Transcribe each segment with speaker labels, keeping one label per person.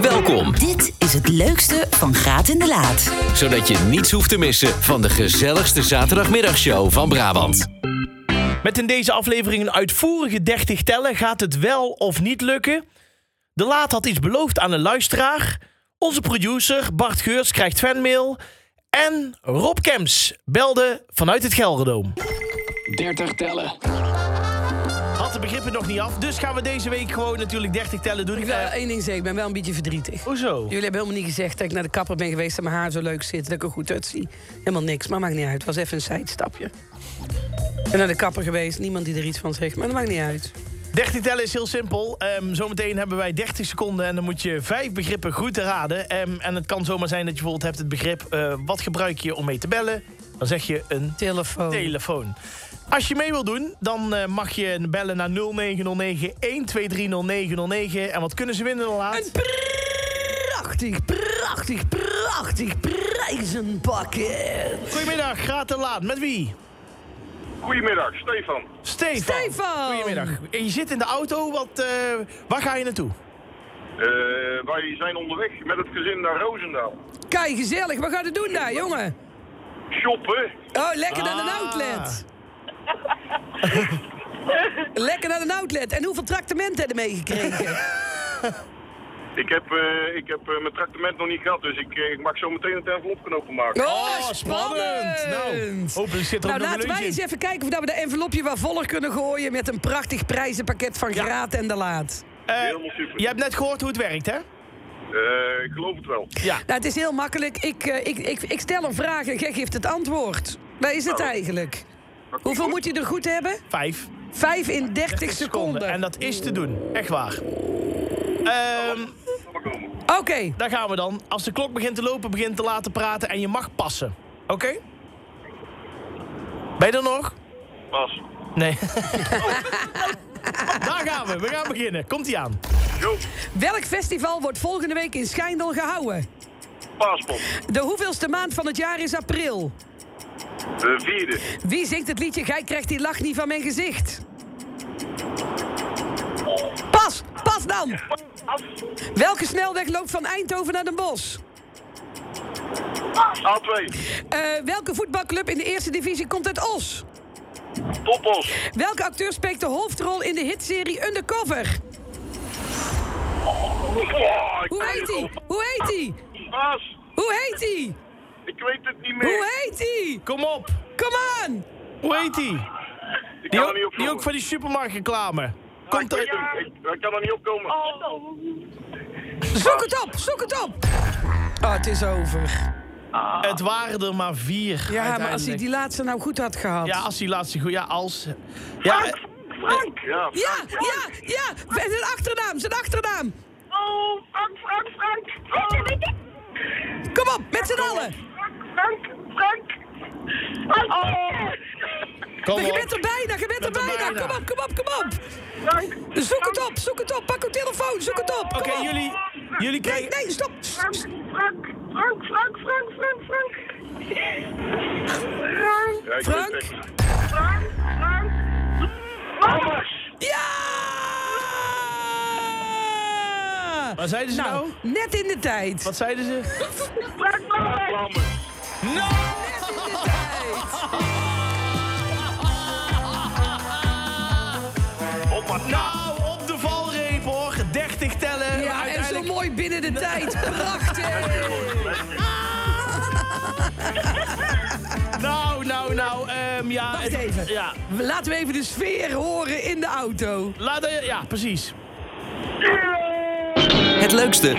Speaker 1: Welkom,
Speaker 2: Dit is het leukste van Graat in de Laat.
Speaker 1: zodat je niets hoeft te missen van de gezelligste zaterdagmiddagshow van Brabant.
Speaker 3: Met in deze aflevering een uitvoerige 30 tellen. Gaat het wel of niet lukken? De Laat had iets beloofd aan een luisteraar. Onze producer Bart Geurs krijgt fanmail. En Rob Kems belde vanuit het Gelderdoom.
Speaker 4: 30 tellen.
Speaker 3: Had de begrippen nog niet af, dus gaan we deze week gewoon natuurlijk 30 tellen doen.
Speaker 5: Ik
Speaker 3: Ik,
Speaker 5: wil
Speaker 3: eh,
Speaker 5: één ding zeggen, ik ben wel een beetje verdrietig.
Speaker 3: hoezo?
Speaker 5: Jullie hebben helemaal niet gezegd dat ik naar de kapper ben geweest... dat mijn haar zo leuk zit, dat ik er goed uitzie. Helemaal niks, maar maakt niet uit. Het was even een zijstapje. Ik ben naar de kapper geweest, niemand die er iets van zegt, maar dat maakt niet uit.
Speaker 3: 30 tellen is heel simpel. Ehm, zometeen hebben wij 30 seconden en dan moet je vijf begrippen goed raden. Ehm, en het kan zomaar zijn dat je bijvoorbeeld hebt het begrip... eh, wat gebruik je om mee te bellen? Dan zeg je een
Speaker 5: Telefoon.
Speaker 3: telefoon. Als je mee wil doen, dan eh, mag je bellen naar 0909-1230909. En wat kunnen ze winnen dan laat?
Speaker 5: prachtig, prachtig, prachtig prijzenpakket.
Speaker 3: Goedemiddag, graat en laat. Met wie?
Speaker 6: Goedemiddag, Stefan.
Speaker 3: Stefan.
Speaker 5: Stefan!
Speaker 3: Goedemiddag. En je zit in de auto. Wat, eh, waar ga je naartoe?
Speaker 6: Eh, wij zijn onderweg met het gezin naar Roosendaal.
Speaker 5: Kijk, gezellig. Wat gaat het doen daar, jongen?
Speaker 6: Shoppen?
Speaker 5: Oh, lekker naar een
Speaker 3: Ah.
Speaker 5: outlet. lekker naar een outlet. En hoeveel traktementen hebben we meegekregen?
Speaker 6: Ik heb, eh, ik heb eh, mijn tractement nog niet gehad, dus ik, eh, ik mag zo meteen het envelop knopen maken.
Speaker 5: Oh.
Speaker 3: Nou, hopelijk zit er ook
Speaker 5: Nou,
Speaker 3: nog een
Speaker 5: laten wij
Speaker 3: lunch in.
Speaker 5: eens even kijken of we dat envelopje wat voller kunnen gooien... met een prachtig prijzenpakket van Graat en de Laat.
Speaker 3: Eh,
Speaker 6: Helemaal super.
Speaker 3: je hebt net gehoord hoe het werkt, hè?
Speaker 6: Eh, ik geloof het wel.
Speaker 3: Ja.
Speaker 5: Nou, het is heel makkelijk. Ik, eh, ik, ik, ik stel een vraag en jij geeft het antwoord. Waar is het
Speaker 6: Nou.
Speaker 5: eigenlijk?
Speaker 6: Dat komt
Speaker 5: Hoeveel
Speaker 6: goed.
Speaker 5: moet je er goed hebben?
Speaker 3: Vijf
Speaker 5: 5 in 30 seconden.
Speaker 3: En dat is te doen. Echt waar. Ehm,
Speaker 6: Zal maar komen.
Speaker 5: Oké,
Speaker 3: daar gaan we dan. Als de klok begint te lopen, begint te laten praten en je mag passen. Oké? Ben je er nog?
Speaker 6: Pas.
Speaker 3: Nee. daar gaan we. We gaan beginnen. Komt-ie aan.
Speaker 6: Jo,
Speaker 5: welk festival wordt volgende week in Schijndel gehouden?
Speaker 6: paaspop.
Speaker 5: De hoeveelste maand van het jaar is april?
Speaker 6: De vierde.
Speaker 5: Wie zingt het liedje Gij krijgt die lach niet van mijn gezicht? Pas, pas dan!
Speaker 6: Af.
Speaker 5: Welke snelweg loopt van Eindhoven naar Den Bosch?
Speaker 6: A2.
Speaker 5: Eh, welke voetbalclub in de eerste divisie komt uit Os?
Speaker 6: Toppos.
Speaker 5: Welke acteur speelt de hoofdrol in de hitserie Undercover?
Speaker 6: Oh, ik
Speaker 5: Hoe
Speaker 6: weet
Speaker 5: heet
Speaker 6: het
Speaker 5: die?
Speaker 6: al.
Speaker 5: Hoe heet die?
Speaker 6: Pas.
Speaker 5: Hoe heet die?
Speaker 6: Ik weet het niet meer.
Speaker 5: Hoe heet die?
Speaker 3: Kom op.
Speaker 5: Kom aan!
Speaker 3: Hoe heet die?
Speaker 6: Ik
Speaker 3: Die
Speaker 6: kan er niet
Speaker 3: ook,
Speaker 6: op
Speaker 3: die ook van die supermarktreclame. Komt
Speaker 6: ik,
Speaker 3: er...
Speaker 6: weet het. Ik- ik kan er niet op komen.
Speaker 5: Zoek het op, zoek het op! Oh, het is over.
Speaker 3: Het waren er maar vier.
Speaker 5: Ja, maar als hij
Speaker 3: uiteindelijk.
Speaker 5: die laatste nou goed had gehad.
Speaker 3: Ja, als die laatste goed... Ja, als...
Speaker 5: Ah,
Speaker 3: Ja, eh,
Speaker 6: Frank. Ja,
Speaker 5: ja,
Speaker 6: Frank,
Speaker 5: ja! ja. En Zijn achternaam, zijn achternaam!
Speaker 6: Oh, Frank, Frank, Frank. Oh.
Speaker 5: Kom op, met z'n allen!
Speaker 6: Frank, Frank. Frank.
Speaker 7: Oh.
Speaker 3: kom
Speaker 5: Maar je bent
Speaker 3: op.
Speaker 5: er bijna, je bent er
Speaker 3: bent er
Speaker 5: bijna!
Speaker 3: bijna.
Speaker 5: Kom op, kom op, kom op!
Speaker 6: Frank.
Speaker 5: Zoek het op, zoek het op, pak uw telefoon, zoek het op! kom
Speaker 3: Oké,
Speaker 5: op.
Speaker 3: jullie... Jullie
Speaker 5: Nee,
Speaker 3: krijgen...
Speaker 5: nee, stop! S-
Speaker 6: Frank,
Speaker 5: s-
Speaker 6: Frank, Frank, Frank, Frank, Frank, Frank. Frank.
Speaker 5: Frank?
Speaker 6: Frank, Frank. Thomas.
Speaker 5: Ja!
Speaker 3: Waar zeiden ze nou?
Speaker 5: Net in de tijd.
Speaker 3: Wat zeiden ze?
Speaker 6: Frank Lammers.
Speaker 5: Net in de tijd.
Speaker 3: Nou, op de valreep hoor. 30 tellen.
Speaker 5: Ja, en zo
Speaker 3: uiteindelijk-
Speaker 5: mooi binnen de tijd. Prachtig.
Speaker 3: Nou, nou, nou. ehm ja,
Speaker 5: Wacht
Speaker 3: het-
Speaker 5: even.
Speaker 3: Ja,
Speaker 5: Laten we even de sfeer horen in de auto.
Speaker 3: laat, eh, ja, precies.
Speaker 1: Het leukste,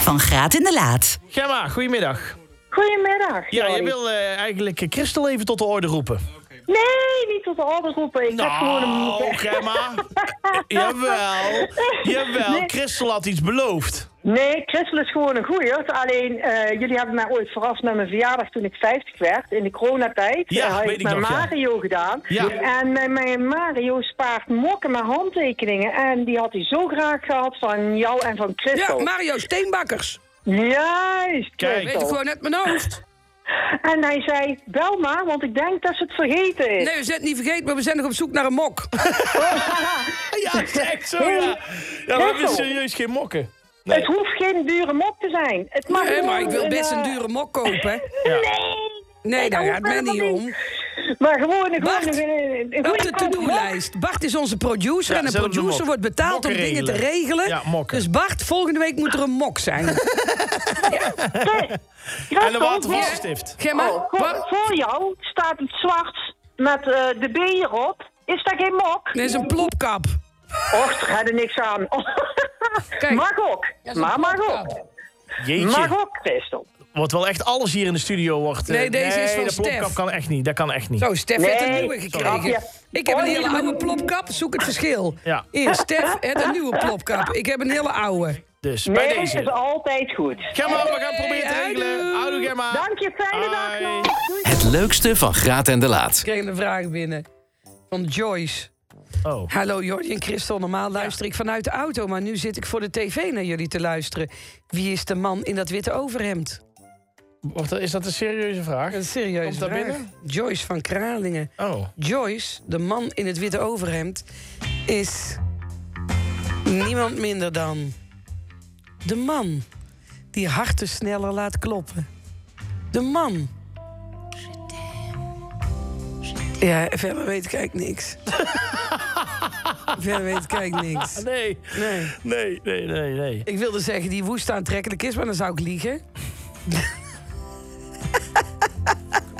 Speaker 2: Van Graat in de Laat.
Speaker 3: Gemma, goedemiddag.
Speaker 7: Goedemiddag.
Speaker 3: Ja, je
Speaker 7: Jordi.
Speaker 3: wil eh, eigenlijk eh, Christel even tot de orde roepen.
Speaker 7: Nee, niet tot de orde roepen. Ik heb gewoon
Speaker 3: Nou,
Speaker 7: een...
Speaker 3: Gemma. Eh, jawel. Jawel,
Speaker 7: Nee.
Speaker 3: Christel had iets beloofd.
Speaker 7: Nee, Christel is gewoon een goeierd. Alleen, eh, jullie hebben mij ooit verrast met mijn verjaardag toen ik 50 werd. In de coronatijd.
Speaker 3: Ja,
Speaker 7: Eh, had
Speaker 3: weet
Speaker 7: ik
Speaker 3: ik
Speaker 7: mijn
Speaker 3: nog, ja.
Speaker 7: Mario gedaan.
Speaker 3: Ja.
Speaker 7: En mijn, mijn Mario spaart mokken met handtekeningen. En die had hij zo graag gehad van jou en van
Speaker 5: Ja,
Speaker 7: Christel.
Speaker 5: Mario Steenbakkers.
Speaker 7: Juist,
Speaker 3: Kijk.
Speaker 5: Weet ik
Speaker 7: Christel.
Speaker 5: gewoon uit mijn hoofd.
Speaker 7: En hij zei, bel maar, want ik denk dat ze het vergeten is.
Speaker 5: Nee, we zijn het niet vergeten, maar we zijn nog op zoek naar een mok.
Speaker 3: Ja, is echt zo, ja. Ja, we hebben
Speaker 7: Christel.
Speaker 3: serieus geen mokken.
Speaker 7: Het hoeft geen dure mop te zijn. Het mag
Speaker 5: Nee, maar
Speaker 7: gewoon
Speaker 5: ik wil best een
Speaker 7: eh,
Speaker 5: dure mok kopen.
Speaker 7: Nee,
Speaker 5: Nee, nou daar
Speaker 7: hoeft
Speaker 5: gaat men
Speaker 7: helemaal
Speaker 5: niet om.
Speaker 7: maar gewoon een,
Speaker 5: Bart,
Speaker 7: gewoon een, een, een
Speaker 5: Op
Speaker 7: goede
Speaker 5: de
Speaker 7: kant mop.
Speaker 5: to-do-lijst. Bart is onze producer
Speaker 3: Ja,
Speaker 5: en een
Speaker 3: zet hem op de mok.
Speaker 5: producer wordt betaald
Speaker 3: Mokken
Speaker 5: om dingen te
Speaker 3: regelen.
Speaker 5: regelen.
Speaker 3: Ja, mokken.
Speaker 5: dus Bart, volgende week moet er een mok zijn.
Speaker 3: En een
Speaker 7: Christel,
Speaker 3: watervaststift.
Speaker 5: Gemma,
Speaker 7: Oh, voor-
Speaker 5: Bart,
Speaker 7: Voor, voor jou staat iets zwart met eh, de B erop. Is dat geen mok?
Speaker 5: dit is een plopkap.
Speaker 7: Och, daar had er niks aan.
Speaker 5: Kijk.
Speaker 7: mag ook.
Speaker 5: is
Speaker 7: Maar
Speaker 5: een
Speaker 7: mag
Speaker 5: plopkap.
Speaker 7: ook.
Speaker 3: Jeetje.
Speaker 7: Mag ook, Christel.
Speaker 3: Wordt wel echt alles hier in de studio wordt. eh,
Speaker 5: Nee, deze is van
Speaker 3: dat plopkap
Speaker 5: Stef.
Speaker 3: kan echt niet. Dat kan echt niet.
Speaker 5: Zo, Stef heeft een
Speaker 7: Nee,
Speaker 5: nieuwe
Speaker 7: grapje.
Speaker 5: gekregen. Ik heb een hele oude plopkap, zoek het verschil.
Speaker 3: Ja.
Speaker 5: Hier, Stef heeft een nieuwe plopkap. Ik heb een hele oude.
Speaker 3: Dus bij
Speaker 7: Nee, het is
Speaker 3: deze.
Speaker 7: altijd goed.
Speaker 3: Gemma, we gaan proberen te
Speaker 5: Hey,
Speaker 3: regelen.
Speaker 5: houdoe.
Speaker 3: Houdoe Gemma.
Speaker 7: Dank je, fijne dag
Speaker 3: Hoi.
Speaker 7: nog. Doei.
Speaker 1: Het leukste van Graat en de Laat.
Speaker 5: Ik kreeg een vraag binnen van Joyce.
Speaker 3: Oh.
Speaker 5: Hallo Jordi en Christel, normaal luister ik vanuit de auto... maar nu zit ik voor de tv naar jullie te luisteren. Wie is de man in dat witte overhemd?
Speaker 3: Wacht, Is dat een serieuze vraag?
Speaker 5: Een serieuze
Speaker 3: Komt daar
Speaker 5: vraag.
Speaker 3: binnen?
Speaker 5: Joyce van Kralingen.
Speaker 3: Oh.
Speaker 5: Joyce, de man in het witte overhemd, is niemand minder dan de man die harten sneller laat kloppen. De man. Ja, verder weet ik eigenlijk niks. verder weet ik eigenlijk niks.
Speaker 3: Nee.
Speaker 5: Nee.
Speaker 3: Nee, nee, nee, nee.
Speaker 5: Ik wilde zeggen die woest aantrekkelijk is, maar dan zou ik liegen.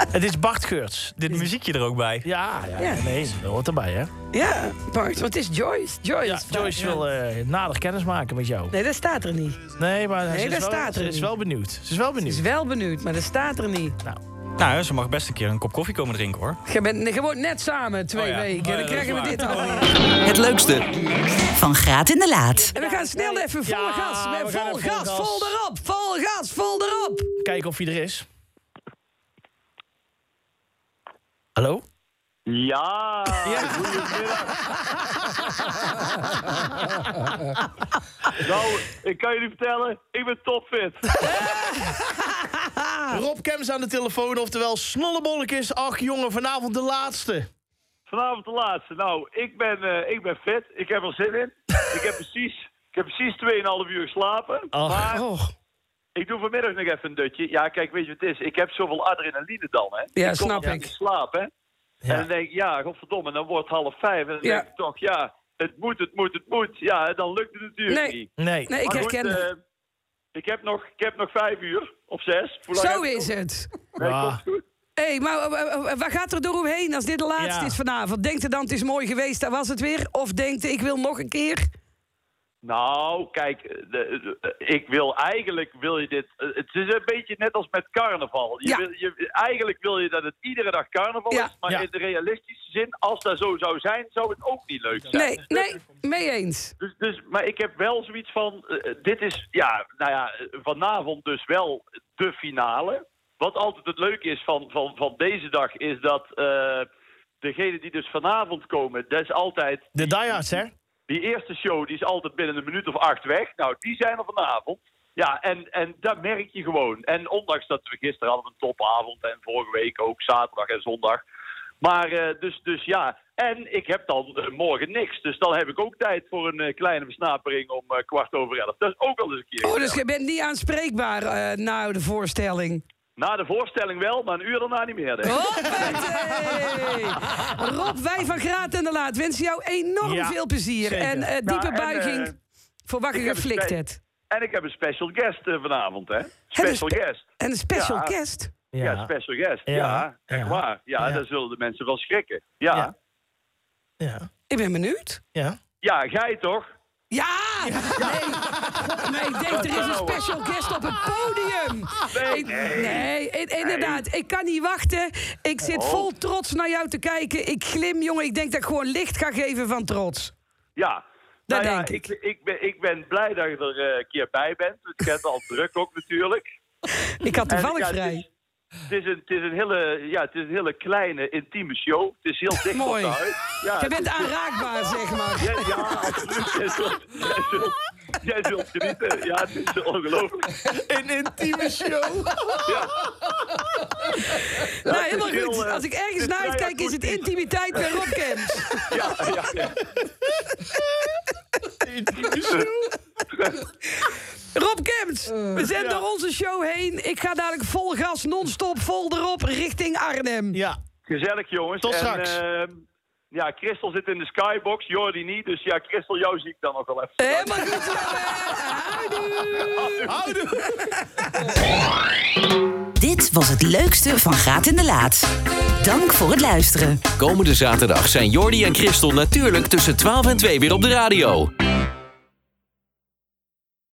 Speaker 3: Het is Bart Geurts. Dit muziek.
Speaker 8: Muziekje er ook bij.
Speaker 3: Ja, ja,
Speaker 5: Ja.
Speaker 3: nee, dat hoort erbij, hè?
Speaker 5: Ja, Bart, want het is Joyce. Joyce.
Speaker 3: Ja, Joyce wil eh, nader kennis maken met jou.
Speaker 5: Nee, dat staat er niet.
Speaker 3: Nee, maar
Speaker 5: Nee,
Speaker 3: ze, is
Speaker 5: daar
Speaker 3: wel,
Speaker 5: staat er
Speaker 3: ze is
Speaker 5: niet.
Speaker 3: wel benieuwd. Ze is wel
Speaker 5: Ze is
Speaker 3: benieuwd.
Speaker 5: wel benieuwd, maar dat staat er niet.
Speaker 8: Nou, ze mag best een keer een kop koffie komen drinken hoor.
Speaker 5: Je, bent, je wordt net samen twee
Speaker 8: Oh ja.
Speaker 5: weken. En dan
Speaker 8: Oh ja, dat
Speaker 5: krijgen we
Speaker 8: is
Speaker 5: dit
Speaker 8: waar.
Speaker 5: al.
Speaker 1: Het leukste,
Speaker 2: Van Graat in de Laat.
Speaker 5: En we gaan snel even vol
Speaker 3: Ja,
Speaker 5: gas.
Speaker 3: we gaan
Speaker 5: Met vol
Speaker 3: even vol
Speaker 5: gas,
Speaker 3: gas.
Speaker 5: vol erop. Vol gas, vol erop.
Speaker 3: Kijken of hij er is. Hallo?
Speaker 6: Ja, nou, ik kan jullie vertellen, ik ben topfit.
Speaker 5: Ah.
Speaker 3: Rob Kems aan de telefoon, oftewel Snollebollek is. Ach jongen, vanavond de laatste.
Speaker 6: Vanavond de laatste. Nou, ik ben, eh, ik ben fit. Ik heb er zin in. Ik heb precies, ik heb precies 2,5 uur geslapen. Maar
Speaker 5: Oh.
Speaker 3: och.
Speaker 6: ik doe vanmiddag nog even een dutje. Ja, kijk, weet je wat het is? Ik heb zoveel adrenaline dan, hè.
Speaker 5: Ja,
Speaker 6: Ik kom
Speaker 5: snap
Speaker 6: niet
Speaker 5: ik.
Speaker 6: in slaap, hè. En dan denk ik, ja, godverdomme, dan wordt het half vijf. En dan
Speaker 5: Ja.
Speaker 6: denk ik toch, ja, het moet, het moet, het moet. Ja, dan lukt het natuurlijk
Speaker 5: Nee.
Speaker 6: niet.
Speaker 3: Nee.
Speaker 5: Nee, ik
Speaker 6: Maar goed,
Speaker 5: herken het.
Speaker 6: eh, ik, heb nog, ik heb nog vijf uur, of zes. Hoe lang
Speaker 5: Zo
Speaker 6: heb ik nog?
Speaker 5: is het.
Speaker 6: Nee,
Speaker 3: Ah.
Speaker 6: komt goed.
Speaker 5: Hé, hey, maar eh, eh, waar gaat er door omheen als dit de laatste
Speaker 3: Ja.
Speaker 5: is vanavond? Denkt er dan, het is mooi geweest, daar was het weer? Of denkt er, ik wil nog een keer?
Speaker 6: Nou, kijk, de- de- ik wil eigenlijk wil je dit. eh, Het is een beetje net als met carnaval. Je
Speaker 5: Ja.
Speaker 6: wil, je, eigenlijk wil je dat het iedere dag carnaval
Speaker 5: Ja.
Speaker 6: is, maar
Speaker 3: Ja.
Speaker 6: in de realistische zin, als dat zo zou zijn, zou het ook niet leuk zijn.
Speaker 5: Nee, nee, mee eens.
Speaker 6: Dus, dus, maar ik heb wel zoiets van, eh, dit is, ja, nou ja, eh, vanavond dus wel de finale. Wat altijd het leuke is van, van, van deze dag, is dat eh degene die dus vanavond komen, dat is altijd
Speaker 3: De diehards, hè?
Speaker 6: die eerste show die is altijd binnen een minuut of acht weg. Nou, die zijn er vanavond. Ja, en, en dat merk je gewoon. En ondanks dat we gisteren hadden een topavond en vorige week ook zaterdag en zondag. Maar eh, dus, dus ja, en ik heb dan eh, morgen niks. Dus dan heb ik ook tijd voor een eh, kleine versnapering om eh, kwart over elf. Dat is ook wel eens een keer.
Speaker 5: Oh, dus je bent niet aanspreekbaar eh, na de voorstelling.
Speaker 6: Na de voorstelling wel, maar een uur daarna niet meer. Denk ik.
Speaker 5: Hoppatee! Rob, wij van Graat en de Laat wensen jou enorm
Speaker 3: Ja,
Speaker 5: veel plezier.
Speaker 3: zeker.
Speaker 5: En eh,
Speaker 6: Nou,
Speaker 5: diepe
Speaker 6: en,
Speaker 5: buiging
Speaker 6: eh,
Speaker 5: voor wakker
Speaker 6: ik heb een
Speaker 5: geflikt
Speaker 6: spijt.
Speaker 5: het.
Speaker 6: En ik heb een special guest eh, vanavond, hè? Special
Speaker 5: spe-
Speaker 6: guest.
Speaker 5: En een special
Speaker 6: Ja.
Speaker 5: guest.
Speaker 6: Ja, special guest.
Speaker 3: Ja.
Speaker 6: Ja, echt
Speaker 3: Ja.
Speaker 6: waar. Ja,
Speaker 3: Ja.
Speaker 6: daar zullen de mensen wel schrikken. Ja,
Speaker 3: Ja.
Speaker 6: ja.
Speaker 3: Ja.
Speaker 5: Ik ben benieuwd.
Speaker 3: Ja.
Speaker 6: jij toch?
Speaker 5: Ja! Nee. nee, ik denk er is een special guest op het podium. Ik- nee, in- inderdaad. Ik kan niet wachten. Ik zit
Speaker 6: Oh.
Speaker 5: vol trots naar jou te kijken. Ik glim, jongen. Ik denk dat ik gewoon licht ga geven van trots.
Speaker 6: Ja.
Speaker 5: Dat
Speaker 6: Nou ja,
Speaker 5: denk ik.
Speaker 6: Ik, ben, ik ben blij dat je er eh, een keer bij bent. Want je hebt al druk ook natuurlijk.
Speaker 5: Ik had
Speaker 6: En,
Speaker 5: toevallig
Speaker 6: ja, het
Speaker 5: vrij.
Speaker 6: is- Het is, een, het, is een hele, ja, het is een hele kleine, intieme show. Het is heel dicht
Speaker 5: Mooi.
Speaker 6: op de huid. Ja,
Speaker 5: Je bent aanraakbaar, zeg maar.
Speaker 6: ja, ja, absoluut. Jij zult, jij zult- jij zult genieten. Ja, het is ongelooflijk.
Speaker 3: Een intieme show.
Speaker 5: nou, helemaal
Speaker 6: is
Speaker 5: goed.
Speaker 6: heel, eh,
Speaker 5: Als ik ergens
Speaker 6: dit
Speaker 5: naar
Speaker 6: is
Speaker 5: uitkijk,
Speaker 6: vrij
Speaker 5: is het
Speaker 6: akoestisch.
Speaker 5: intimiteit bij Rob Camps.
Speaker 6: Ja, ja, ja.
Speaker 3: intieme show.
Speaker 5: Rob Kemps,
Speaker 6: Eh,
Speaker 5: we zijn door onze show heen. Ik ga dadelijk vol gas, non-stop, vol erop, richting Arnhem.
Speaker 3: Ja.
Speaker 6: Gezellig, jongens.
Speaker 3: Tot
Speaker 6: en,
Speaker 3: straks.
Speaker 6: ehm, ja, Christel zit in de skybox, Jordi niet. Dus ja, Christel, jou zie ik dan nog wel even.
Speaker 5: Helemaal goed zo, hè? Houdoe.
Speaker 2: Dit was het leukste van Graat in de Laat. Dank voor het luisteren.
Speaker 1: Komende zaterdag zijn Jordi en Christel natuurlijk tussen 12 en 2 weer op de radio.